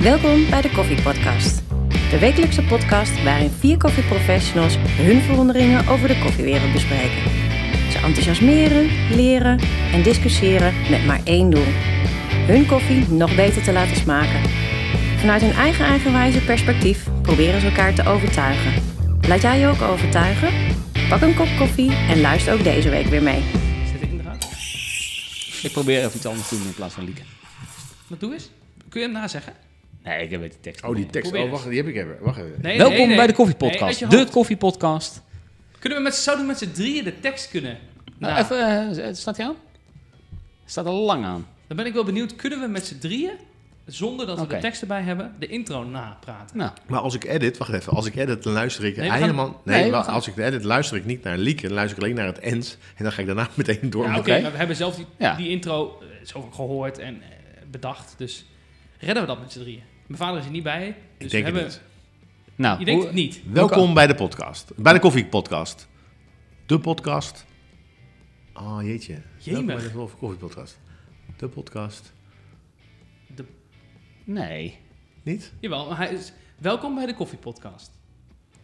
Welkom bij de Koffie Podcast. De wekelijkse podcast waarin vier koffieprofessionals hun verwonderingen over de koffiewereld bespreken. Ze enthousiasmeren, leren en discussiëren met maar één doel: hun koffie nog beter te laten smaken. Vanuit hun eigen eigenwijze perspectief proberen ze elkaar te overtuigen. Laat jij je ook overtuigen? Pak een kop koffie en luister ook deze week weer mee. Zit er inderdaad? Ik probeer even iets anders te doen in plaats van lieken. Wat doe eens? Kun je hem nazeggen? Nee, ik weet die tekst. Oh, die tekst. Probeer Oh, wacht, die heb ik even. Wacht even. Nee, Welkom nee, nee. bij de Nee, Koffiepodcast. uit je de hoofd. Koffiepodcast. Kunnen we met, zouden we met z'n drieën de tekst kunnen? Nou, Nou, even, eh, staat hij aan? Staat er lang aan. Dan ben ik wel benieuwd. Kunnen we met z'n drieën, zonder dat we Oké. de tekst erbij hebben, de intro napraten? Nou, Maar als ik edit, wacht even. Als ik edit, dan luister ik Nee, we gaan- helemaal... Nee, nee, wa- we gaan- als ik edit, luister ik niet naar Lieke. Dan luister ik alleen naar het end. En dan ga ik daarna meteen door. Ja, met- oké. oké. maar we hebben zelf die, Ja. die intro eh, zo gehoord en eh, bedacht. Dus redden we dat met z'n drieën? Mijn vader is er niet bij. Dus ik we denk het hebben, niet. nou Je denkt hoe- het niet. Welkom bij de podcast. Bij de Koffie Podcast. De podcast. Oh, jeetje. Welkom bij de Koffie- Koffie Podcast. De podcast. De, Nee. Niet? jawel, maar hij is, welkom bij de koffiepodcast.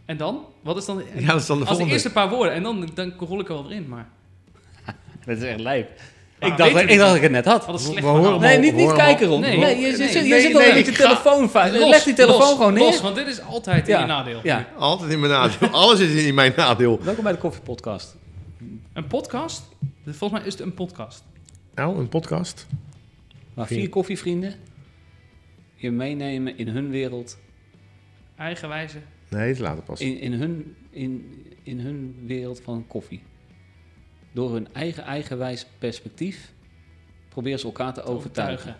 En dan? Wat is dan... Ja, dat is dan de Als de volgende. eerste paar woorden en dan, dan rol ik er wel weer in, maar... Dat is echt lijp. Maar ik dacht, Ah, weet dat- het ik niet. dacht dat ik het net had. Wat een We- we slecht horen verhaal. hem Nee, niet, Hoor niet hem kijken op. rond. Nee. Nee, je, je, Nee, zit- je nee, zit al nee, met ik die ga- telefoon vast. Los, Leg die telefoon los, gewoon neer. los, want dit is altijd in je nadeel. Ja. Altijd in mijn nadeel. Alles is in mijn nadeel. Welkom bij de Koffiepodcast. Een podcast? Volgens mij is het een podcast. Nou, een podcast. Waar vier koffievrienden je meenemen in hun wereld. Eigenwijze. Nee, het is later pas. In, in, hun, in, in hun wereld van koffie. Door hun eigen eigenwijs perspectief proberen ze elkaar te overtuigen. Nou,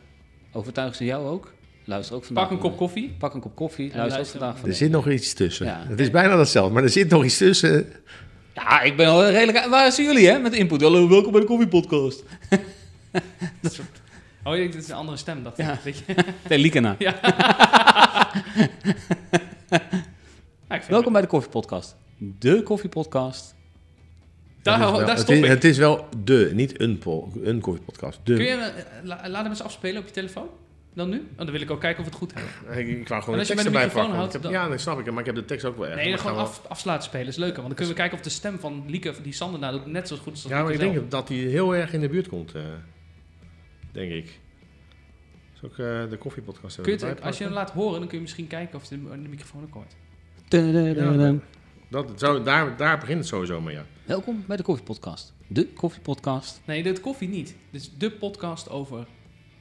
Overtuigen ze jou ook? Luister ook vandaag. Pak een kop koffie. Pak een kop En koffie. Luister, ook luister vandaag. Er Van zit nog iets tussen. Ja. Het is bijna hetzelfde, maar er zit nog iets tussen. ja, ik ben al redelijk. Waar zijn jullie hè? Met input. Hallo, welkom bij de koffiepodcast. Oh, ik- dit is een andere stem, dacht ik. Ja. Weet je? Nou, Telikena. Ja. Ah, ik vind Welkom bij de koffiepodcast. De koffiepodcast. Daar, Het is wel- daar het, stop is, ik. het is wel de, niet een, po- een podcast. De. Kun je, eh, la- laat hem eens afspelen op je telefoon? Dan nu? Want dan wil ik ook kijken of we het goed hebben. Ik, ik wou En gewoon als je de tekst met een erbij microfoon pakken. want houdt, ik heb- dan- Ja, dat snap ik, maar ik heb de tekst ook wel erg. Nee, Maar dan gewoon gaan we- af, afsluiten spelen. is leuker. Want dan kunnen we kijken of de stem van Lieke, die Sander, nou doet net zo goed als dat Ja, maar ik Lieke denk zelf. dat- dat hij heel erg in de buurt komt. eh, denk ik. Is ook eh, de koffiepodcast. Kun hebben je het- erbij als je hem pakken? laat horen, dan kun je misschien kijken of de, de microfoon ook hoort. Tadadadadam. dat, zou, daar, daar begint het sowieso mee, ja. Welkom bij de koffiepodcast. De koffiepodcast. Nee, dat koffie niet. Dit is de podcast over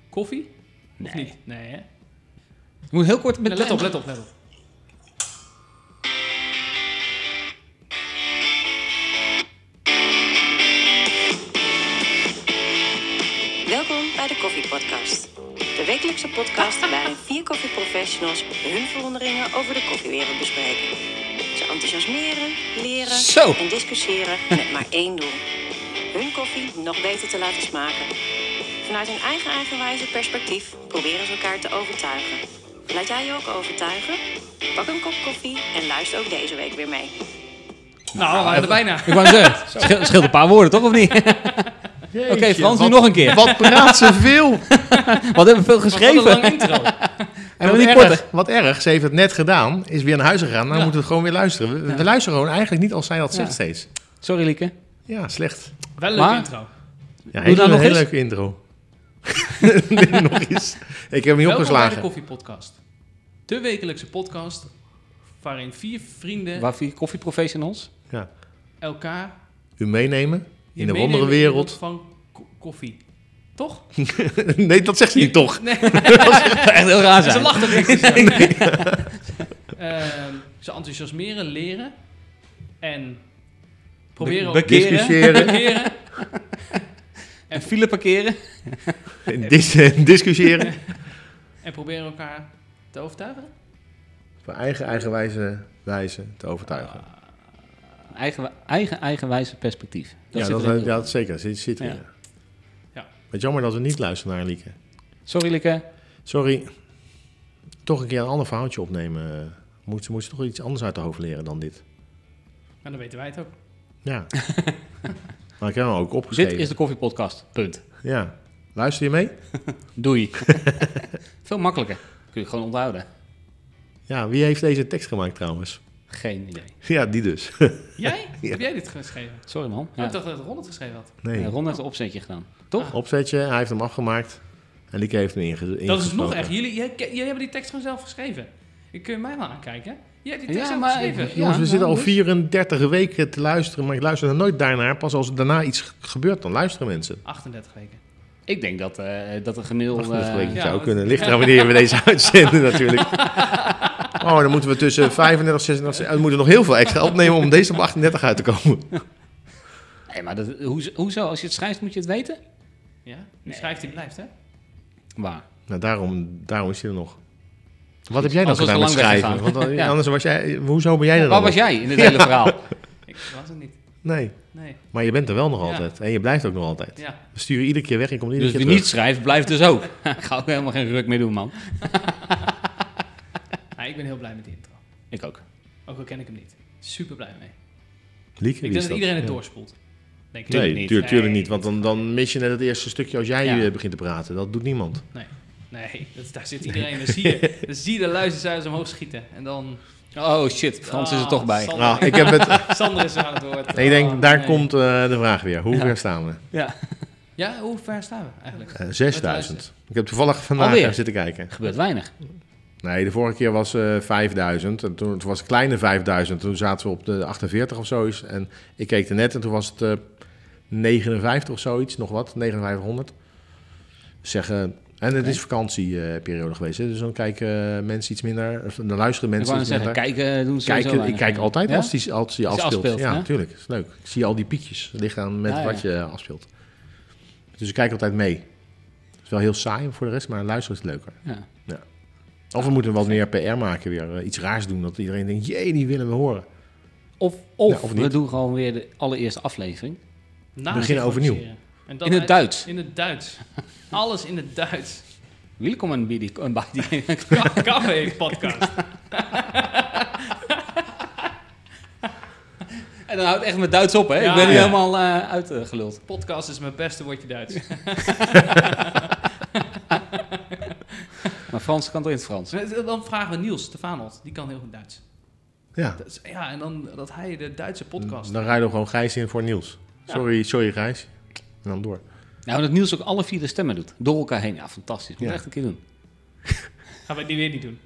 koffie. Of Nee. niet? Nee, hè? Ik moet heel kort met Let op, let op, let op. Welkom bij de Koffie Podcast. De wekelijkse podcast waarin vier koffieprofessionals hun verwonderingen over de koffiewereld bespreken. Ze enthousiasmeren, leren Zo. en discussiëren met maar één doel. Hun koffie nog beter te laten smaken. Vanuit hun eigen eigenwijze perspectief proberen ze elkaar te overtuigen. Laat jij je ook overtuigen? Pak een kop koffie en luister ook deze week weer mee. Nou, we waren er bijna. Ik wou zeggen, scheelt, scheelt een paar woorden toch of niet? Oké, Frans, nu nog een keer. Wat praat ze veel! Wat hebben we veel geschreven? Wat een lange intro. En Kan wat niet erg, korter. wat erg, ze heeft het net gedaan, is weer naar huis gegaan. Nou moeten we het gewoon weer luisteren. We, we luisteren gewoon eigenlijk niet als zij dat zegt Ja. steeds. Sorry Lieke. Ja, slecht. Wel een leuke Maar- intro. Ja, Doe hele, nou nog hele eens. leuke intro. Nee, nog eens. Ik heb hem niet Welkom bij de opgeslagen. Koffie Podcast. De wekelijkse podcast waarin vier vrienden Waar vier koffieprofessionals? Ja. elkaar U meenemen in de meenemen wondere in de wereld. wereld van ko- koffie. Toch? nee, dat zegt ze niet toch? Nee, Dat zou echt heel raar ze zijn. lacht er niks. Nee. Ehm, ze enthousiasmeren, leren en proberen Be- bekeren. Discussiëren. bekeren. En file parkeren. En dis- en discussiëren. en proberen elkaar te overtuigen. Op een eigen, eigenwijze wijze te overtuigen. Eigen, eigen eigenwijze perspectief. ja, zit dat, erin. ja, dat zeker. Zit, zit erin. Ja. Ja. Wat jammer dat we niet luisteren naar Lieke. Sorry Lieke. Sorry. Toch een keer een ander verhaaltje opnemen. Moet ze, moet ze toch iets anders uit de hoofd leren dan dit. En Nou, dan weten wij het ook. Ja. maar ik heb hem ook opgeschreven. Dit is de koffiepodcast. Punt. Ja. Luister je mee? Doei. veel makkelijker. Kun je gewoon onthouden. Ja, wie heeft deze tekst gemaakt trouwens? Geen idee. Ja, die dus. Jij? Heb jij dit geschreven? Oh, Sorry man. Ja. Ik dacht dat Ron het geschreven had. Nee. Ja, Ron heeft een opzetje gedaan. Toch? Ah. Opzetje, hij heeft hem afgemaakt. En Lieke heeft hem inge ingesproken. Dat is nog echt. Jullie, jij, jullie hebben die tekst gewoon zelf geschreven. Ik kun je mij wel aankijken. Jij hebt die tekst zelf Ja, maar- geschreven. Jongens, we Ja, zitten al nou, 34 weken te luisteren, maar ik luister er nooit daarnaar. Pas als er daarna iets ge- gebeurt, dan luisteren mensen. 38 weken. Ik denk dat, eh, dat een gemiddelde... 38 weken ja, zou want- kunnen. Ligt eraan wanneer we deze uitzenden natuurlijk. Oh, dan moeten we tussen 35, 36... We moeten nog heel veel extra opnemen om deze op 38 uit te komen. Nee, maar dat, hoezo, hoezo? Als je het schrijft moet je het weten? Ja? Die schrijft die blijft, hè? Waar? Nou, daarom, daarom is hij er nog. Wat heb jij nou Anders was gedaan het met lang schrijven? weggegaan. Want dan- Ja. anders was jij... Hoezo ben jij er Waar dan was nog? jij in het hele verhaal? Dus Ik was het niet. Nee, Nee. maar je bent er wel nog Ja. altijd. En je blijft ook nog altijd. Ja. We sturen iedere keer weg en je komt Dus iedere wie keer niet schrijft, blijft dus ook. Ga ook helemaal geen ruk meer doen, man. Maar ik ben heel blij met die intro. Ik ook. Ook al ken ik hem niet. Super blij mee. terug. Lieke, wie Ik is denk dat iedereen het Ja. doorspoelt. Denk ik. Nee, niet. tuurlijk, tuurlijk Nee. niet. Want dan, dan mis je net het eerste stukje als jij Ja. eh, begint te praten. Dat doet niemand. Nee. Nee, dat, daar zit iedereen. Dan zie je, dan zie je de luistercijfers omhoog schieten. En dan... Oh shit, Frans is er toch bij. Ah, Sander, Nou, ik, heb het, Sander is er aan het woord. ik denk, Oh, daar nee. komt eh, de vraag weer. Hoe ver staan we? Ja. Ja, hoe ver staan we eigenlijk? Eh, 6000. Ik heb toevallig vandaag Alweer? even zitten kijken. Gebeurt weinig. Nee, de vorige keer was eh 5000. En toen, toen was het kleine 5000. Toen zaten we op de 48 of zoiets. En ik keek er net en toen was het eh 59 of zoiets. Nog wat, 5900. Zeggen. En het is vakantieperiode geweest. Hè? Dus dan kijken eh, mensen iets minder. Of, dan luisteren Ik wou mensen net iets zeggen, minder. kijken doen ze sowieso Kijken, ik weinig. kijk altijd Ja? als die, als die Als die afspeelt. afspeelt, ja, hè? Ah, natuurlijk. is leuk. Ik zie al die piekjes. Het ligt aan met Ja, ja. wat je eh, afspeelt. Dus ik kijk altijd mee. Het is wel heel saai voor de rest, maar luisteren is leuker. Ja. Of we moeten wat meer PR maken weer. eh, iets raars doen dat iedereen denkt, jee, die willen we horen. Of, of, Ja, of we niet. doen gewoon weer de allereerste aflevering. Naast beginnen overnieuw. En dan In het uit- Duits. In het Duits. Alles in het Duits. Welkom bij die... Bij die Café podcast. en dan houdt echt mijn Duits op, hè? Ja, ik ben nu ja. helemaal eh uitgeluld. Podcast is mijn beste woordje Duits. Maar Frans kan toch in het Frans? eh, Dan vragen we Niels Stefanold. Die kan heel goed Duits. Ja, Dat is- ja, en dan dat hij de Duitse podcast. dan rijden we gewoon Gijs in voor Niels. Ja. Sorry, sorry Gijs. En dan door. Nou, dat Niels ook alle vier de stemmen doet. Door elkaar heen. Ja, fantastisch. Moet Ja. echt een keer doen. nou- Gaan we die weer niet doen.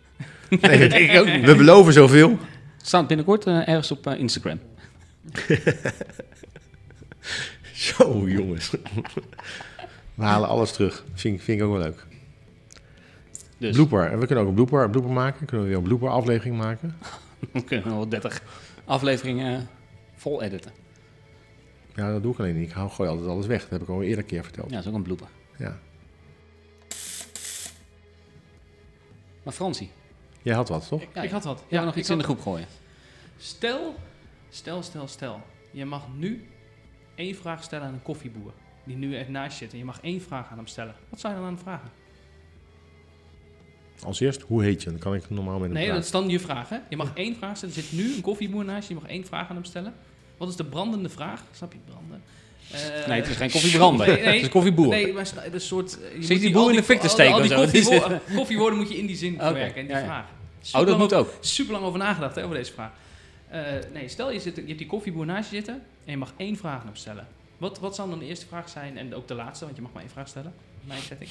Nee, dat denk ik ook niet. We beloven zoveel. Staat binnenkort eh, ergens op eh, Instagram. Zo, jongens. We halen alles terug. Vind, ik- vind ik ook wel leuk. Dus Blooper. En we kunnen ook een blooper, een blooper maken. Kunnen we weer een blooper aflevering maken. we kunnen wel 30 afleveringen eh, vol editen. Ja, dat doe ik alleen niet. Ik hou- gooi altijd alles weg. Dat heb ik al eerder een keer verteld. Ja, dat is ook een blooper. Ja. Maar Fransie, Jij had wat, toch? Ik, Ja, ik had wat. ja, nog ik iets in de had- groep gooien. Stel, stel, stel, stel. Je mag nu één vraag stellen aan een koffieboer. Die nu echt naast je zit. En je mag één vraag aan hem stellen. Wat zou je dan aan hem vragen? Als eerst, hoe heet je? Dan kan ik normaal met hem Nee, praten. dat is dan je vraag, hè? Je mag één vraag stellen. Er zit nu een koffieboer naast je. Je mag één vraag aan hem stellen. Wat is de brandende vraag? Snap je, branden? Eh, Nee, het is geen koffiebrander. Nee, nee. Het is koffieboer. Nee, maar sna- het is een soort... eh, je moet die boer al in de fik te al die- al die steken of zo? koffiewo- koffiewoorden moet je in die zin Oké, verwerken, in die ja, ja. vraag. oh, dat Superlang moet ook. super lang over nagedacht hè, over deze vraag. Eh, nee, stel je, zit, je hebt die koffieboer naast je zitten en je mag één vraag aan hem stellen. Wat, wat zou dan de eerste vraag zijn en ook de laatste, want je mag maar één vraag stellen. Mijn setting.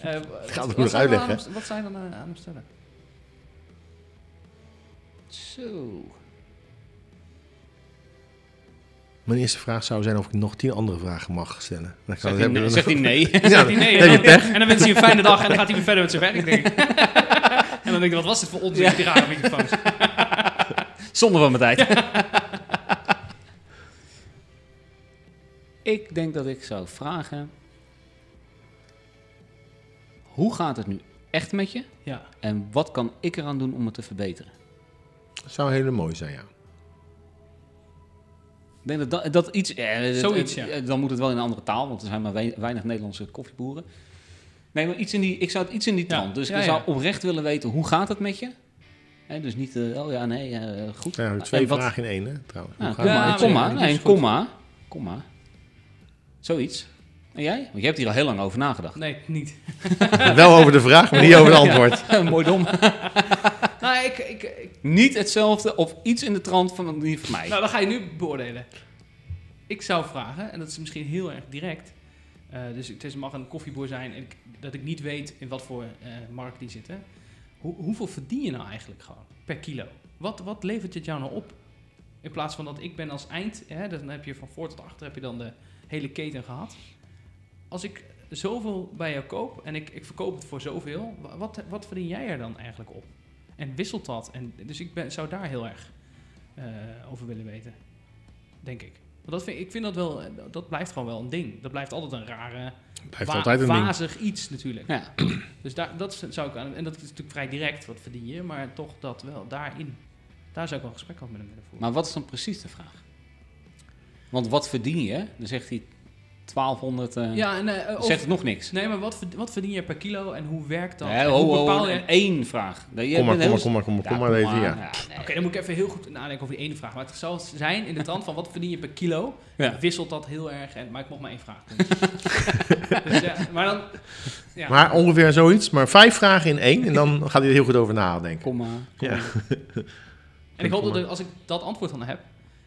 Eh, wat- hem wat nog zou je dan uitleggen, aan hem- Wat zou je dan eh, aan hem stellen? Zo. Mijn eerste vraag zou zijn of ik nog tien andere vragen mag stellen. Dan kan Zegt dat hij hebben nee? we Zegt hij nee? dan- Ja, Zegt hij nee, heb je en, dan, en dan wens hij een fijne dag en dan gaat hij weer verder met zijn werk, denk ik. En dan denk ik, wat was dit voor onzin, die rare microfoons. Zonder van mijn tijd. ik denk dat ik zou vragen... Hoe gaat het nu echt met je? Ja, En wat kan ik eraan doen om het te verbeteren? Dat zou heel mooi zijn, ja. Ik denk dat dat, dat iets... eh, het- Zoiets, het- ja. eh, Dan moet het wel in een andere taal, want er zijn maar wei- weinig Nederlandse koffieboeren. Nee, maar iets in die, ik zou het iets in die Ja, trant. Dus ja, ik ja. zou oprecht willen weten, hoe gaat het met je? Hè, dus niet, eh, oh ja, nee, eh, goed. ja twee En wat- vragen in één, hè, trouwens. Ja, Hoe gaat komma, het? maar- een komma, ja, nee, is een goed. komma, komma. Zoiets. En jij? Want je hebt hier al heel lang over nagedacht. Nee, niet. Wel over de vraag, maar niet over het antwoord. Eh, Mooi dom. Nou, ik, ik, ik- Niet hetzelfde of iets in de trant van die van mij. nou, dan ga je nu beoordelen. Ik zou vragen, en dat is misschien heel erg direct. eh, dus het is- mag een koffieboer zijn en ik- dat ik niet weet in wat voor eh, markt die zitten. Hoe, hoeveel verdien je nou eigenlijk gewoon per kilo? Wat, wat levert het jou nou op? In plaats van dat ik ben als eind, hè, dan heb je van voor tot achter heb je dan de hele keten gehad. Als ik zoveel bij jou koop en ik, ik verkoop het voor zoveel, wa- wat, wat verdien jij er dan eigenlijk op? En wisselt dat? En, dus ik ben, zou daar heel erg eh, over willen weten. Denk ik. Want dat vind, ik vind dat wel, eh, dat blijft gewoon wel een ding. Dat blijft altijd een rare, Blijft wa- altijd een ding. wazig iets natuurlijk. Ja. Dus daar, dat zou ik aan, en dat is natuurlijk vrij direct, wat verdien je, maar toch dat wel, daarin. Daar zou ik wel een gesprek over met hem willen voeren. Maar wat is dan precies de vraag? Want wat verdien je? Dan zegt hij 1200. eh, ja, en, eh, dan of- zegt het nog niks. nee, maar wat, verd- wat verdien je per kilo en hoe werkt dat? Nee, en ho, hoe ho, bepaal ho, je... en één vraag. Nee, jij Kom maar, bent kom heel- maar, kom maar, kom maar, Ja, kom maar kom deze, ja. maar. Ja, nee. Oké, dan moet ik even heel goed nadenken over die ene vraag. Maar het zal zijn in de trant van wat verdien je per kilo? Ja. Wisselt dat heel erg? En, maar ik mocht maar één vraag doen. dus, ja, maar dan... Ja. Maar ongeveer zoiets, maar vijf vragen in één. En dan gaat hij er heel goed over nadenken. Kom maar. kom Ja. maar. En ik hoop dat er- als ik dat antwoord dan heb...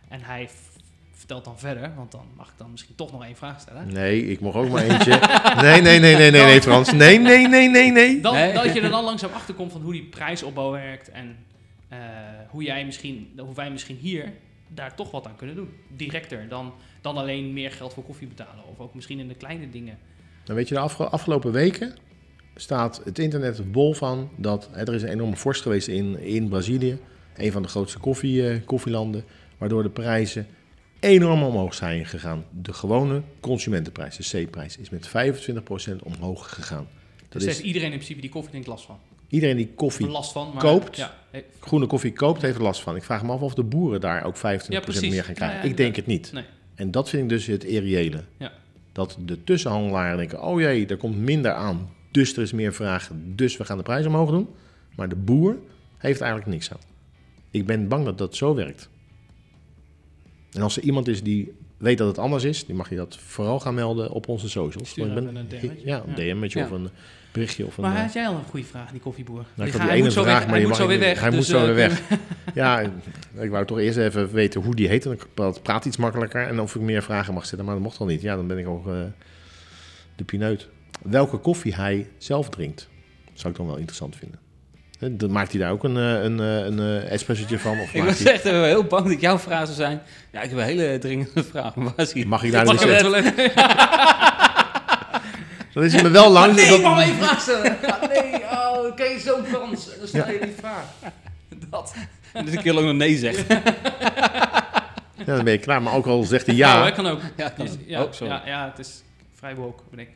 En hij v- vertelt dan verder, want dan mag ik dan misschien toch nog één vraag stellen. Nee, ik mocht ook maar eentje. Nee, nee, nee, nee, nee, nee, Frans. Nee, nee, nee, nee, nee. Dan, Nee. Dat je er dan langzaam achter komt van hoe die prijsopbouw werkt en eh, hoe, jij misschien, hoe wij misschien hier daar toch wat aan kunnen doen. Directer dan, dan alleen meer geld voor koffie betalen of ook misschien in de kleine dingen. Dan weet je, de afge- afgelopen weken staat het internet bol van dat hè, er is een enorme vorst geweest in, in Brazilië. Een van de grootste koffie, eh, koffielanden. Waardoor de prijzen enorm omhoog zijn gegaan. De gewone consumentenprijs, de C-prijs, is met 25% omhoog gegaan. Dat Dus daar heeft is iedereen in principe die koffie denkt last van. iedereen die koffie, Of last van, maar... koopt. Ja, eh, groene koffie koopt, heeft er last van. Ik vraag me af of de boeren daar ook 25% Ja, precies. meer gaan krijgen. Ja, ja, ik denk het niet. nee. En dat vind ik dus het irreële. Ja. Dat de tussenhandelaren denken, oh jee, er komt minder aan, dus er is meer vraag, dus we gaan de prijs omhoog doen. Maar de boer heeft eigenlijk niks aan. Ik ben bang dat dat zo werkt. En als er iemand is die weet dat het anders is, die mag je dat vooral gaan melden op onze socials. Stuur Want ik even een DM'tje. Ja, een DM'tje Ja. of een berichtje. Of een, Maar eh, had jij al een goede vraag, die koffieboer? nou, ik Die had ga- die hij ene moet zo vraag, weg- maar die Hij moet mag zo ik weer niet- weg. Hij dus, moet zo eh, weer weg. ja, ik wou toch eerst even weten hoe die heet. En dan praat iets makkelijker. En of ik meer vragen mag stellen. Maar dat mocht al niet. Ja, dan ben ik ook eh, de pineut. Welke koffie hij zelf drinkt, zou ik dan wel interessant vinden. Hè, Dan maakt hij daar ook een, eh, een, eh, een eh, espressotje van? Of Ik maakt was hij, echt eh, heel bang dat jouw vraag zou zijn. Ja, ik heb een hele dringende vraag. Maar waar is hij? mag ik daar Mag niet ik zeggen? wel even- Dat is me wel Ah, lang. Nee, dat- ik mag één vraag stellen. Ja, nee, oh, oké, zo zo'n kans. Dan stel je die vraag. Dat. Dus ik wil ook nog nee zeggen. ja, dan ben je klaar. Maar ook al zegt hij Nou, ja. hij kan ook. Ja, kan Dus- ook. ja, Oh, sorry. ja, ja, het is vrij woke, ben ik.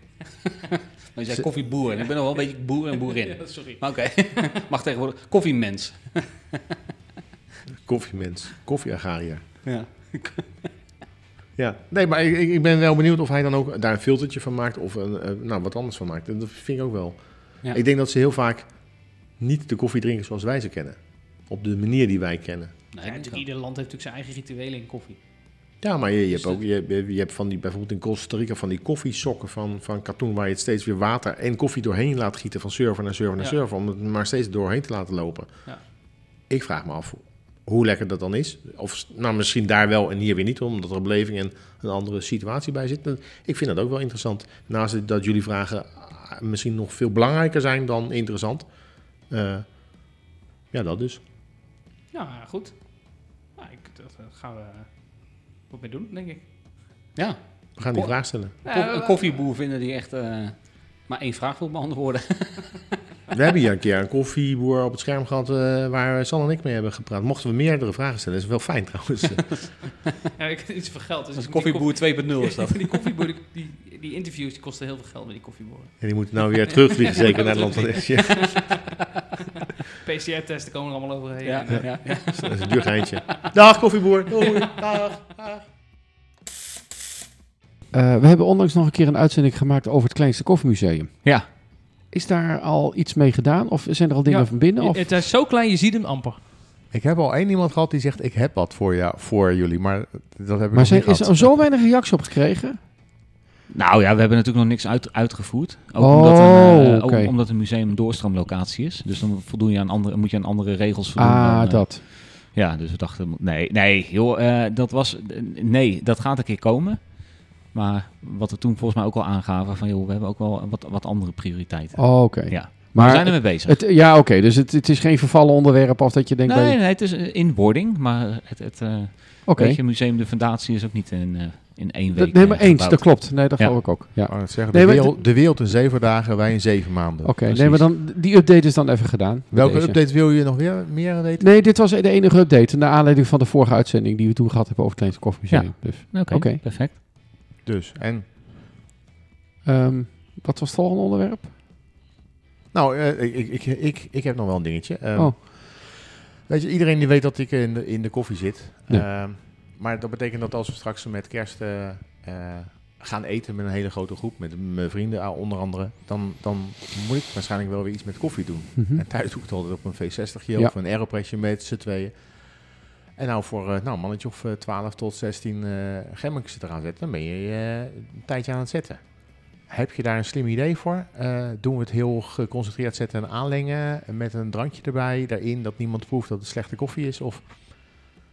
Maar je zei koffieboer. En ik ben nog wel een beetje boer en boerin. Ja, sorry. Maar oké, mag tegenwoordig. Koffiemens. Koffiemens. Koffieagaria. Ja. Ja, nee, maar ik, ik- ik ben wel benieuwd of hij dan ook daar een filtertje van maakt of een, eh, nou, wat anders van maakt. Dat vind ik ook wel. Ja. Ik denk dat ze heel vaak niet de koffie drinken zoals wij ze kennen. Op de manier die wij kennen. Ja, natuurlijk, ieder land heeft natuurlijk zijn eigen rituelen in koffie. Ja, maar je, je hebt Dus dat- ook je, hebt- je hebt van die, bijvoorbeeld in Costa Rica van die koffiesokken van, van katoen... waar je het steeds weer water en koffie doorheen laat gieten van server naar server naar Ja. server... om het maar steeds doorheen te laten lopen. Ja. Ik vraag me af hoe lekker dat dan is. Of nou, misschien daar wel en hier weer niet, omdat er een beleving en een andere situatie bij zit. Dat- Ik vind dat ook wel interessant. Naast dat jullie vragen ah, misschien nog veel belangrijker zijn dan interessant. Eh, ja, dat dus. Ja, goed. Nou, ik, dat eh, gaan we eh, wat mee doen, denk ik. Ja, We gaan die Ko- vraag stellen. Ja, eh, kof- we- een koffieboer vinden die echt eh, maar één vraag wil beantwoorden. We hebben hier een keer een koffieboer op het scherm gehad eh, waar San en ik mee hebben gepraat. Mochten we meerdere vragen stellen, is wel fijn trouwens. Eh, Ja, ik heb iets van geld. Dus Dat is die koffie- koffieboer 2.0 is dat. Die koffieboer, die, die, die interviews, die kosten heel veel geld bij die koffieboeren. en die moeten nou weer terugvliegen, zeker naar het land van Azië. PCR-testen komen er allemaal overheen. Ja, En, eh, ja, ja. Dus Dat is een duur geintje. Dag koffieboer. Doei. Dag. Eh, we hebben onlangs nog een keer een uitzending gemaakt over het kleinste koffiemuseum. Ja. Is daar al iets mee gedaan? Of zijn er al dingen Ja. van binnen? Of? Het is zo klein, je ziet hem amper. Ik heb al één iemand gehad die zegt: Ik heb wat voor, jou, voor jullie, maar dat heb ik maar nog zijn, niet is gehad. er zo weinig reactie op gekregen? Nou ja, we hebben natuurlijk nog niks uit, uitgevoerd. Ook, Oh, omdat een, eh, ook oké. omdat een museum een doorstroomlocatie is. Dus dan voldoen je aan andere, moet je aan andere regels voldoen. dan, Ah, eh, dat. Ja, dus we dachten, nee, nee, joh, eh, dat was, nee, dat gaat een keer komen. Maar wat we toen volgens mij ook al aangaven, van joh, we hebben ook wel wat, wat andere prioriteiten. Oh, oké. Ja. we Maar zijn ermee bezig. het, ja, oké. Dus het, het is geen vervallen onderwerp of dat je denkt... nee, bij- nee, het is eh, in wording, maar het, het eh, Oké. weet je, museum de fundatie is ook niet in, eh, in één Dat- week Nee, maar eh, eens. Dat gebouwd. klopt. Nee, dat Ja. geloof ik ook. Ja. Ik wou net zeggen, Nee, de, maar wereld, de wereld in zeven dagen, wij in zeven maanden. Oké, nee, maar dan, die update is dan even gedaan. bij Welke deze. update wil je nog weer meer weten? Nee, dit was de enige update. Naar aanleiding van de vorige uitzending die we toen gehad hebben over het Kleins Koffiemuseum. Dus, Oké, Oké. perfect. Dus, en... ehm, wat was het volgende onderwerp? Nou, eh, ik, ik, ik, ik, ik heb nog wel een dingetje. Ehm, Oh. Weet je, iedereen die weet dat ik in de, in de koffie zit. Ja. Ehm, maar dat betekent dat als we straks met kerst eh, eh, gaan eten met een hele grote groep, met mijn vrienden ah, onder andere, dan, dan moet ik waarschijnlijk wel weer iets met koffie doen. Mhm. En thuis doe ik het altijd op een V60 Ja. of een Aeropressje met z'n tweeën. En nou voor eh, nou, een mannetje of eh, 12 tot 16 eh gemmetjes eraan zetten, dan ben je eh, een tijdje aan het zetten. Heb je daar een slim idee voor? Eh, doen we het heel geconcentreerd zetten en aanlengen met een drankje erbij, daarin dat niemand proeft dat het slechte koffie is? Of En Ja,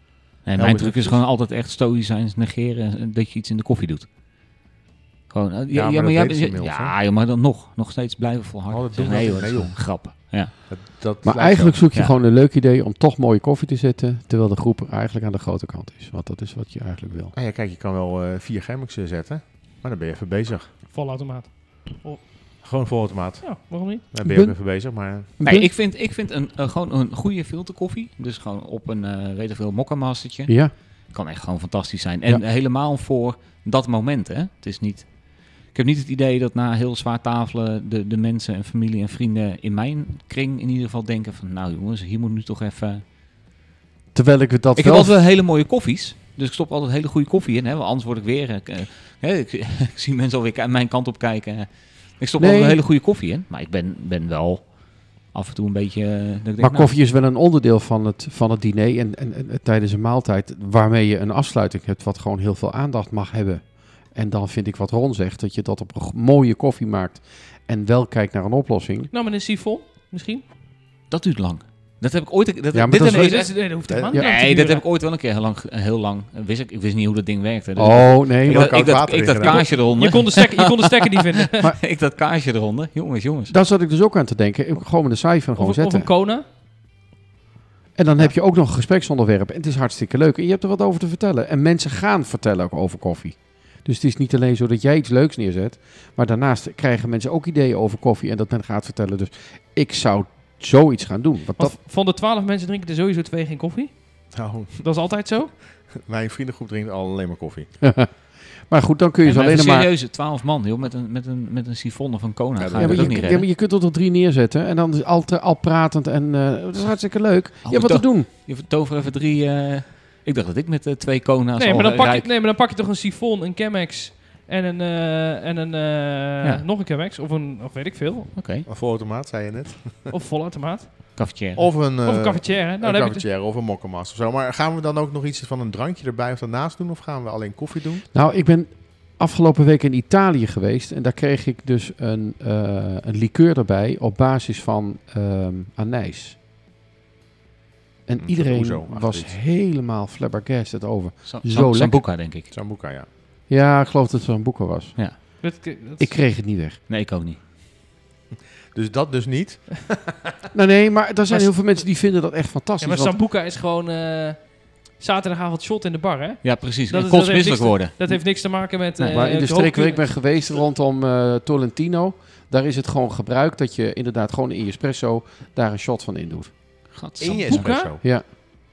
mijn Nou, maar truc dat is is- gewoon altijd echt stoïcijns negeren eh, dat je iets in de koffie doet. Gewoon, eh, ja, ja, maar maar, dat jij weten ze bent- inmiddels, ja, joh, maar dan nog, nog steeds blijven volharden. Oh, dat doen we nee, altijd, joh, dat nee, is gewoon grappen. Ja. dat, dat Maar lijkt eigenlijk zo. zoek je Ja. gewoon een leuk idee om toch mooie koffie te zetten, terwijl de groep er eigenlijk aan de grote kant is. Want dat is wat je eigenlijk wil. Ah ja, kijk, je kan wel eh, vier gemmetjes zetten, maar dan ben je even bezig. Volautomaat. Gewoon voor automaat. Ja, waarom niet? Dan ben je ook Ben- even bezig, maar Nee, ik vind, ik vind een, eh, gewoon een goede filterkoffie. Dus gewoon op een, eh weet ik veel, mokkamastertje. Ja, Kan echt gewoon fantastisch zijn. En helemaal voor dat moment, hè. Het is niet... Ik heb niet het idee dat na heel zwaar tafelen de, de mensen en familie en vrienden in mijn kring in ieder geval denken van... Nou jongens, hier moet nu toch even... terwijl ik het dat ik wel... heb altijd wel hele mooie koffies. Dus ik stop altijd hele goede koffie in. Hè, want anders word ik weer... eh, k- hè, ik, ik zie mensen alweer ki- mijn kant op kijken. Ik stop Nee. altijd wel hele goede koffie in. Maar ik ben, ben wel af en toe een beetje... eh, dat ik denk, maar nou, koffie is wel een onderdeel van het, van het diner en, en, en, en tijdens een maaltijd waarmee je een afsluiting hebt wat gewoon heel veel aandacht mag hebben. En dan vind ik wat Ron zegt, dat je dat op een g- mooie koffie maakt en wel kijkt naar een oplossing. Nou, maar een sifon misschien? Dat duurt lang. Dat heb ik ooit. Dat, maar dit dat is heb ik wel- echt- nee, dat hoeft helemaal Ja. niet. lang te nee, dat duren. heb ik ooit wel een keer heel lang. Heel lang eh, wist ik, ik wist niet hoe dat ding werkte. Dus ik- Oh nee, ik, maar dat, ik, dat, water ik dat ingedaan. kaarsje eronder. Je kon, de stekker, je kon de stekker niet vinden. ik dat kaarsje eronder. Jongens, jongens. daar zat ik dus ook aan te denken. Ik- Gewoon met een cijfer gewoon Of, een- of zetten. een Kona. En dan heb je ook nog een gespreksonderwerp. En het is hartstikke leuk. En je hebt er wat over te vertellen. En mensen gaan vertellen ook over koffie. Dus het is niet alleen zo dat jij iets leuks neerzet. Maar daarnaast krijgen mensen ook ideeën over koffie. En dat men gaat vertellen. Dus ik zou zoiets gaan doen. Want Want dat, van de twaalf mensen drinken er sowieso twee geen koffie. nou, Dat is altijd zo. mijn vriendengroep drinkt alleen maar koffie. maar goed, dan kun je En ze alleen een maar... serieuze 12 man, joh, met een, met een, met een sifon of een Kona. Ja, ga Ja, je maar dat je, ook niet ja, redden. maar je kunt er tot drie neerzetten. En dan is al, te- al pratend. En eh, dat is hartstikke leuk. Je hebt wat te toch- doen. Je tover even drie. eh, ik dacht dat ik met eh, twee Kona's. Nee al maar, dan pak je, rijk- nee, maar dan pak je toch een sifon, een Chemex en een... eh, en een eh, Ja. Nog een Chemex of een... Of weet ik veel. Oké, Een voorautomaat, zei je net. Of volautomaat. kaffertje. Of een, eh Of een cafetière. Nou, een dan heb je cafetière of een mokkenmaas of zo. Maar gaan we dan ook nog iets van een drankje erbij of daarnaast doen? Of gaan we alleen koffie doen? Nou, ik ben afgelopen week in Italië geweest en daar kreeg ik dus een, eh een liqueur erbij op basis van ehm, anijs. En Hm, Een soort iedereen ouzo-achtig was iets. helemaal flabbergasted over. Sam- zo Sam- lekker. Sambuca, denk ik. Sambuca, ja. Ja, ik geloof dat het zo'n boeken was. dit- dit- dus- dat is- Ik kreeg het niet weg. Nee, ik ook niet. Dus dat dus niet. Nou nee, maar er zijn Maar heel veel mensen die vinden dat echt Ja, fantastisch. maar want- Sambuca is gewoon eh, zaterdagavond shot in de bar, hè? Ja, precies. Dat Dat is- kost dat heeft niks misselijk worden. Dat heeft niks te maken met... Nee, eh, maar in de het streek waar ik hoofdkuur- ben geweest rondom eh, Tolentino, daar is het gewoon gebruikt dat je inderdaad gewoon in je espresso daar een shot van in doet. In Sambuca? je espresso. Ja.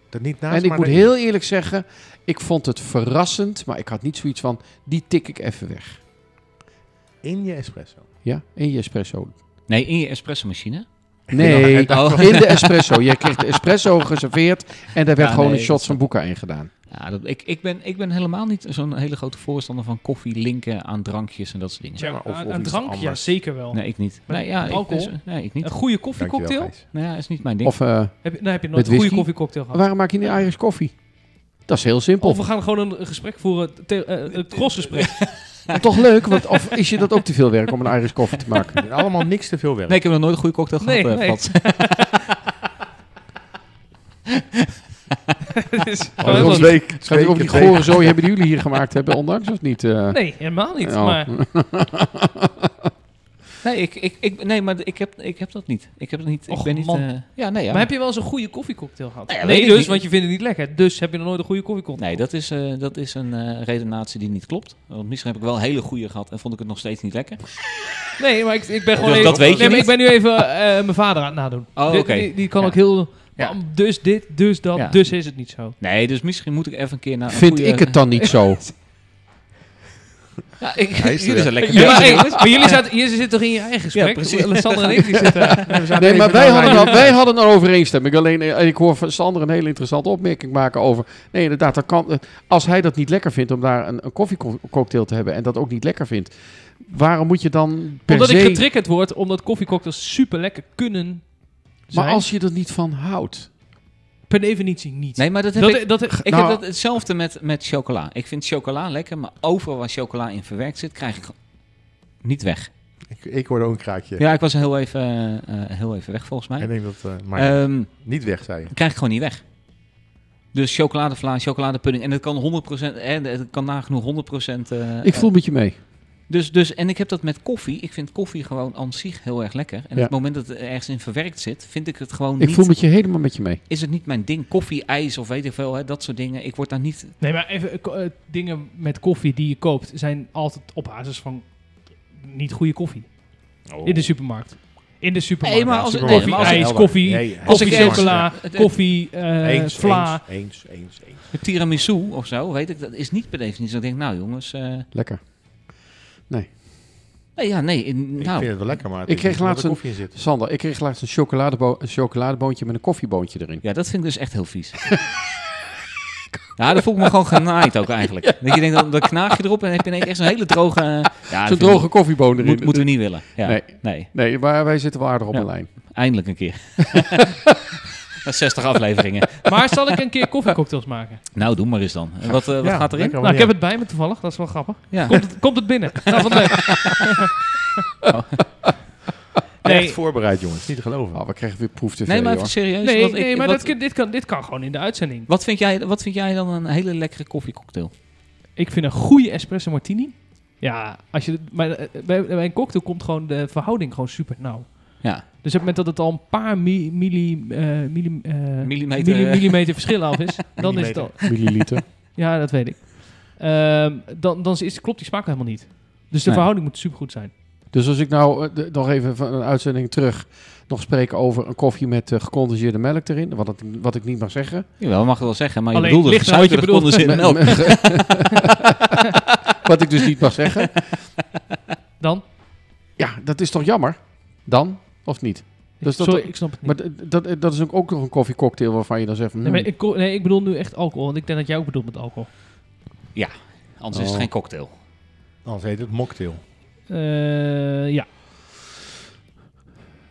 Dat niet naast, en ik maar moet erin. heel eerlijk zeggen, ik vond het verrassend, maar ik had niet zoiets van, die tik ik even weg. In je espresso. Ja, in je espresso. Nee, in je espresso machine. Nee, Oh. in de espresso. Jij kreeg de espresso geserveerd en daar werd Ja, gewoon nee, een shot dat snap van Boeka in gedaan. Ja, dat, ik, ik, ben, ik ben helemaal niet zo'n hele grote voorstander van koffie linken aan drankjes en dat soort dingen. Ja, maar of- aan- of aan iets drank, ja, anders. zeker wel. Nee, ik niet. Maar Nee, ja, ik, alcohol? dus- nee, ik niet. Een goede Dankjewel, koffiecocktail? Gijs. Nou ja, is niet mijn ding. Of eh, Heb je, nou heb je nooit Met een goede whisky? koffiecocktail gehad. waarom maak je niet Irish koffie? Dat is heel simpel. Of we gaan gewoon een een gesprek voeren, te- eh, een crossgesprek. Maar toch leuk, want of is je dat ook te veel werk om een Irish koffie te maken? En allemaal niks te veel werk. Nee, ik heb nog nooit een goede cocktail gehad, Nee, eh, nee. Frans. Dus- Oh, want- twee- Gaat twee u over die keer tegen. gore zooi hebben die jullie hier gemaakt hebben, ondanks of niet? eh? nee, helemaal niet. Oh. Maar Nee, ik, ik, ik, nee maar ik heb, ik heb dat niet. Ik heb dat niet. Och, ik ben niet. man. eh, ja, nee, ja. Maar heb je wel eens een goede koffiecocktail gehad? Nou ja, weet nee, ik dus, niet. want je vindt het niet lekker. Dus heb je nog nooit een goede koffiecocktail? Nee, dat is, eh, dat is een eh, redenatie die niet klopt. Want misschien heb ik wel hele goede gehad en vond ik het nog steeds niet lekker. Nee, maar ik, ik ben gewoon Dat- even... dat weet nee, je maar niet. ik ben nu even eh, mijn vader aan het nadoen. Oh, Die- oké. Die, die kan Ja. ook heel... Ja. bam, Dus dit, dus dat, Ja. dus is het niet zo. Nee, dus misschien moet ik even een keer naar. een Vind goede- ik het dan niet zo? Ja, ik, Hij is er jullie weer. zijn lekker. Ja, bezig. maar, hey, maar jullie, zaten, jullie zitten toch in je eigen gesprek? precies. Alessandra en ik die zitten... Nee, maar wij hadden, dat. al, wij hadden een overeenstemming. Alleen, eh, ik hoor van Sander een hele interessante opmerking maken over... Nee, inderdaad, dat kan, eh, als hij dat niet lekker vindt om daar een, een koffiecocktail te hebben... en dat ook niet lekker vindt, waarom moet je dan per Omdat se... ik getriggerd word, omdat koffiecocktails super lekker kunnen zijn. maar als je er niet van houdt... Per definitie niet. Nee, maar dat heb dat, ik. dat, Ik Nou- heb dat hetzelfde met, met chocola. Ik vind chocola lekker, maar overal waar chocola in verwerkt zit, krijg ik gewoon niet weg. Ik, ik hoorde ook een kraakje. Ja, ik was heel even, eh, eh, heel even weg volgens Ik mij. denk dat... eh, maar Ehm niet weg, zei je. krijg ik gewoon niet weg. Dus chocoladevla, chocoladepudding. En dat kan 100%, eh, dat kan nagenoeg 100%. eh, Ik voel met je mee. Dus, dus, en ik heb dat met koffie. Ik vind koffie gewoon aan zich heel erg lekker. En Ja. het moment dat het ergens in verwerkt zit, vind ik het gewoon Ik niet... voel met je helemaal met je mee. Is het niet mijn ding? Koffie, ijs of weet ik veel, hè, dat soort dingen. Ik word daar niet... Nee, maar even, eh, ko- eh, dingen met koffie die je koopt zijn altijd op basis van niet goede koffie. In de supermarkt. In de supermarkt. Nee, Oh. maar als- koffie, nee, maar als- ijs, koffie, als ik koffie, ergens- chocola, Het- het- koffie, eh, eens, vla. eens, eens, eens, eens. Een tiramisu of zo, weet ik, dat is niet per definitie. Dan denk ik, nou jongens... eh, Lekker. nee, ja, nee, in- Ik nou... vind het wel lekker, maar het Ik is kreeg niet omdat laatst er een- koffie in zit. Sander, ik kreeg laatst een, chocoladebo een chocoladeboontje met een koffieboontje erin. Ja, dat vind ik dus echt heel vies. Ja, dat voel ik me gewoon genaaid ook eigenlijk. Dat je denkt, dan, dan knaag je erop en dan heb je ineens echt zo'n hele droge... eh, Ja, Zo'n dat droge koffieboon moet- erin. moet- moeten we niet willen. Ja, Nee. nee. Nee, maar wij zitten wel aardig op Ja. een lijn. eindelijk een keer. Dat is 60 afleveringen. Maar zal ik een keer koffiecocktails maken? Nou, doe maar eens dan. En Wat, eh, wat Ja, gaat erin? lekker, nou, ik ja. heb het bij me toevallig. Dat is wel grappig. Ja. Komt, het, komt het binnen? Nou, wat leuk. Oh. Echt Nee, voorbereid, jongens. Niet te geloven. Oh, we krijgen weer proef te Nee, veel, maar joh. even serieus. nee, wat, ik- nee maar wat, dat kan- dit, kan, dit kan gewoon in de uitzending. wat, vind jij, wat vind jij dan een hele lekkere koffiecocktail? Ik vind een goede espresso martini. Ja, als je, maar, eh, bij, bij een cocktail komt gewoon de verhouding gewoon super nauw. Ja. Dus op het moment dat het al een paar mi- milli, eh, milli- eh, Millimeter, milli- eh. millimeter verschil af is, dan is het Millimeter. al. Milliliter. Ja, dat weet ik. Ehm, dan dan is, klopt die smaak helemaal niet. Dus de Nee. verhouding moet supergoed zijn. Dus als ik nou eh, de- nog even van een uitzending terug nog spreek over een koffie met eh, gecondenseerde melk erin, wat, het- wat ik niet mag zeggen. Jawel, mag je wel zeggen, maar je Alleen, bedoelde ligt eraan wat je gesuikerde condenseerde Met- melk. met- wat ik dus niet mag zeggen. Dan? Ja, dat is toch jammer? Dan of niet? Dus dat- Sorry, ik snap het niet. Maar d- dat, dat is ook- ook nog een koffiecocktail waarvan je dan zegt: van, nee, maar hmm, ik, ko- nee, ik bedoel nu echt alcohol. Want ik denk dat jij ook bedoelt met alcohol. Anders is het Oh. geen cocktail. Anders heet het mocktail. Eh, ja.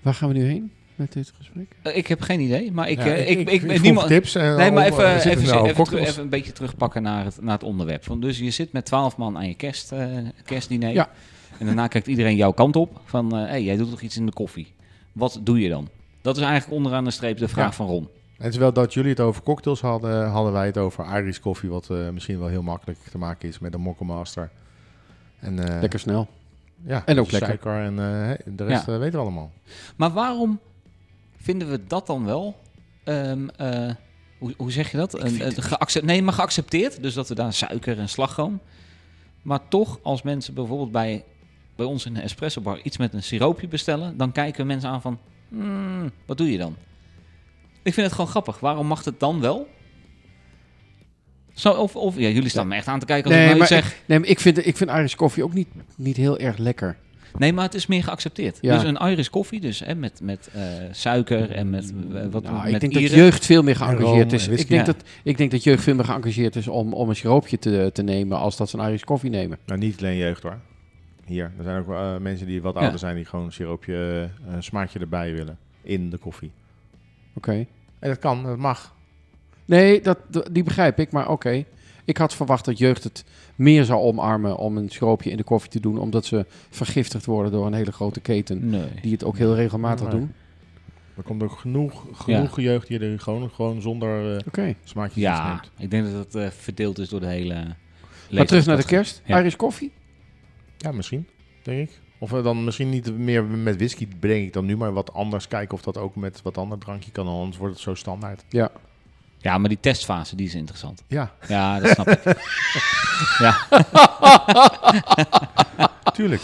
waar gaan we nu heen met dit gesprek? Eh, ik heb geen idee, maar ik... Ja, eh, ik, ik, vroeg niemand, tips. En Nee, maar al- even, we zitten even, nou op even, teru- cocktails. even een beetje terugpakken naar het, naar het onderwerp. Van, dus je zit met twaalf man aan je kerst, eh, kerstdiner. Ja. En daarna kijkt iedereen jouw kant op. Van, hé, hey, jij doet toch iets in de koffie. Wat doe je dan? Dat is eigenlijk onderaan de streep de vraag Ja. van Ron. En terwijl dat jullie het over cocktails hadden, hadden wij het over Irish koffie, wat eh, misschien wel heel makkelijk te maken is met een Mokka Master. En, eh, Lekker snel. Ja, En ook dus lekker. suiker en eh, de rest Ja. eh, weten we allemaal. Maar waarom vinden we dat dan wel... ehm, eh, hoe, hoe zeg je dat? Een, een geaccept- nee, maar geaccepteerd. Dus dat we daar suiker en slagroom. Maar toch, als mensen bijvoorbeeld bij, bij ons in de espresso bar iets met een siroopje bestellen, dan kijken we mensen aan van, "Hmm, wat doe je dan? Ik vind het gewoon grappig. Waarom mag het dan wel? Zo, of, of ja, jullie staan me echt aan te kijken als Nee, ik nou maar iets zeg. Nee, maar ik vind, ik vind Irish koffie ook niet, niet heel erg lekker. Nee, maar het is meer geaccepteerd. Ja. Dus een Irish koffie, dus hè, met, met eh, suiker en met eh, wat Nou, met ik denk dat Ieren. jeugd veel En meer room geëngageerd en is. Ik whisky. denk, Ja. dat, ik denk dat jeugd veel meer geëngageerd is om, om een siroopje te, te nemen als dat ze een Irish koffie nemen. Nou, niet alleen jeugd hoor. Hier, er zijn ook eh, mensen die wat Ja. ouder zijn die gewoon een siroopje, eh, een smaakje erbij willen in de koffie. Oké. En dat kan, dat mag. Nee, dat, dat- die begrijp ik, maar oké. Ik had verwacht dat jeugd het meer zou omarmen om een schroopje in de koffie te doen, omdat ze vergiftigd worden door een hele grote keten, Nee. die het ook heel regelmatig Nee. doen. Er komt ook genoeg, genoeg jeugd die er gewoon, gewoon zonder eh Oké. smaakjes Ja, neemt. ik denk dat dat eh, verdeeld is door de hele... Maar terug naar de leeftijdscategorie. kerst. Ja. Irish koffie? Ja, misschien, denk ik. Of eh, dan misschien niet meer met whisky breng ik dan nu, maar wat anders kijken of dat ook met wat ander drankje kan. Anders wordt het zo standaard. Ja, maar die testfase, die is interessant. Ja, Ja, dat snap ik. tuurlijk.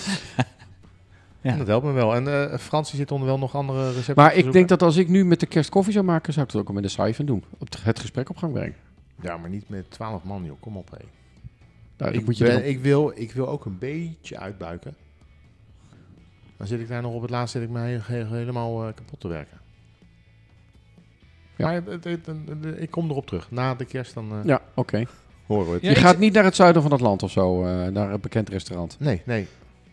Ja. Dat helpt me wel. En eh Fransie zit onder wel nog andere recepten. Maar te ik zoeken. denk dat als ik nu met de kerst koffie zou maken, zou ik dat ook al met de siphon doen. Op het- het gesprek op gang brengen. Ja, maar niet met 12 man, joh. Kom op, hé. Nou, dat Ik, moet je ben- dan- ik, wil, ik wil ook een beetje uitbuiken. Dan zit ik daar nog op het laatst zit ik me he- he- helemaal eh, kapot te werken. Ja. Maar het- het- het- het- ik kom erop terug. Na de kerst dan eh, Ja, oké. horen we het. Ja, je ik- gaat niet naar het zuiden van het land of zo, eh, naar een bekend restaurant. Nee, nee.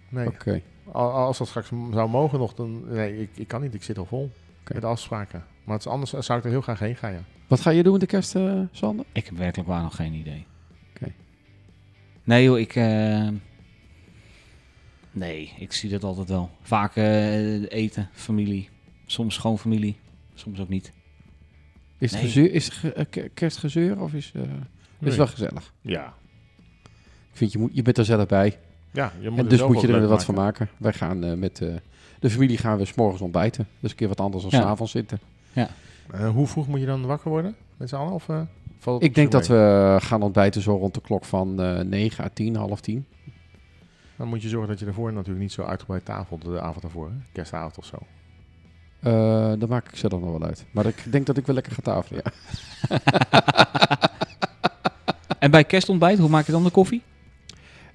nee. Oké. Al- Als dat straks m- zou mogen nog, dan... Nee, ik, ik kan niet. Ik zit al vol Oké. met afspraken. Maar het is anders eh, zou ik er heel graag heen gaan, ja. Wat ga je doen met de kerst, eh Sander? ik heb werkelijk waar nog geen idee. Oké. Nee joh, ik... eh, nee, ik zie dat altijd wel. Vaak eh, eten, familie. Soms schoonfamilie, soms ook niet. Is het Nee. gezeur, is het ge- eh, ke- kerstgezeur of is, eh, is Nee. het wel gezellig? Ja. Ik vind, je, moet, je bent er zelf bij. Ja, je moet en er dus zelf moet je wat er leuk wat van maken. Wij gaan eh, met eh, de familie gaan we 's morgens ontbijten. Dus een keer wat anders dan Ja. 's avonds zitten. Eh, hoe vroeg moet je dan wakker worden? Met z'n allen? Of, eh, valt het Ik denk zo dat mee? we gaan ontbijten zo rond de klok van eh 9 à 10, half 10. Dan moet je zorgen dat je daarvoor natuurlijk niet zo uitgebreid tafel de avond daarvoor. Hè? Kerstavond of zo. Eh dat maak ik zelf nog wel uit. Maar ik denk dat ik wel lekker ga tafelen. Ja. En bij kerstontbijt, hoe maak je dan de koffie?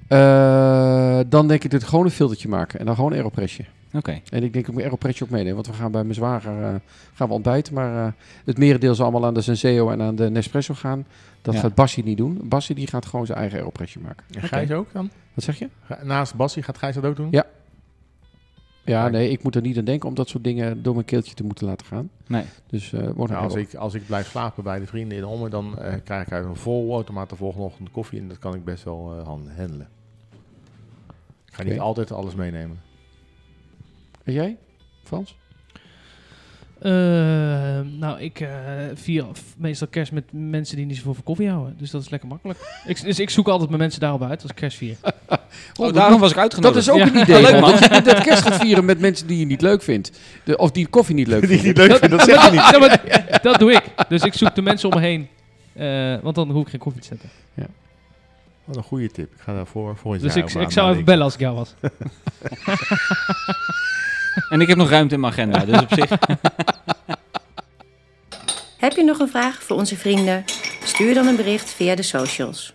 Eh, dan denk ik dat ik gewoon een filtertje maken. En dan gewoon een aeropressje. Oké. En ik denk dat ik mijn aeropressje ook meeneem. Want we gaan bij mijn zwager eh, gaan we ontbijten. Maar eh, het merendeel zal allemaal aan de Senseo en aan de Nespresso gaan. Dat Ja. gaat Bassie niet doen. Bassie die gaat gewoon zijn eigen aeropressje maken. En Gijs ook dan? Wat zeg je? Ga- Naast Bassie gaat Gijs dat ook doen? Ja. Ja, Kijk. nee, ik moet er niet aan denken om dat soort dingen door mijn keeltje te moeten laten gaan. Nee. Dus eh wordt Nou, een als, aero- ik, als ik blijf slapen bij de vrienden in Ommen, dan eh, krijg ik uit een vol automaat de volgende ochtend koffie. En dat kan ik best wel eh, han- handelen. Ik ga niet Oké. altijd alles meenemen. En jij, Frans? Eh, nou, ik eh, vier f- meestal kerst met mensen die niet zoveel van koffie houden. Dus dat is lekker makkelijk. ik, dus ik zoek altijd mijn mensen daarop uit als ik kerst vier. Oh, daarom was ik Dat uitgenodigd. is ook Ja. een idee. Leuk, man. Dat je dat kerst gaat vieren met mensen die je niet leuk vindt. De- of die koffie niet leuk Die vindt. niet leuk vindt, dat zeg je niet. Ja, maar dat doe ik. Dus ik zoek de mensen om me heen. eh, want dan hoef ik geen koffie te zetten. Wat een goede tip. Ik ga daarvoor volgend Dus jaar ik, over ik zou even nadenken. bellen als ik jou was. En ik heb nog ruimte in mijn agenda, dus op zich... Heb je nog een vraag voor onze vrienden? Stuur dan een bericht via de socials.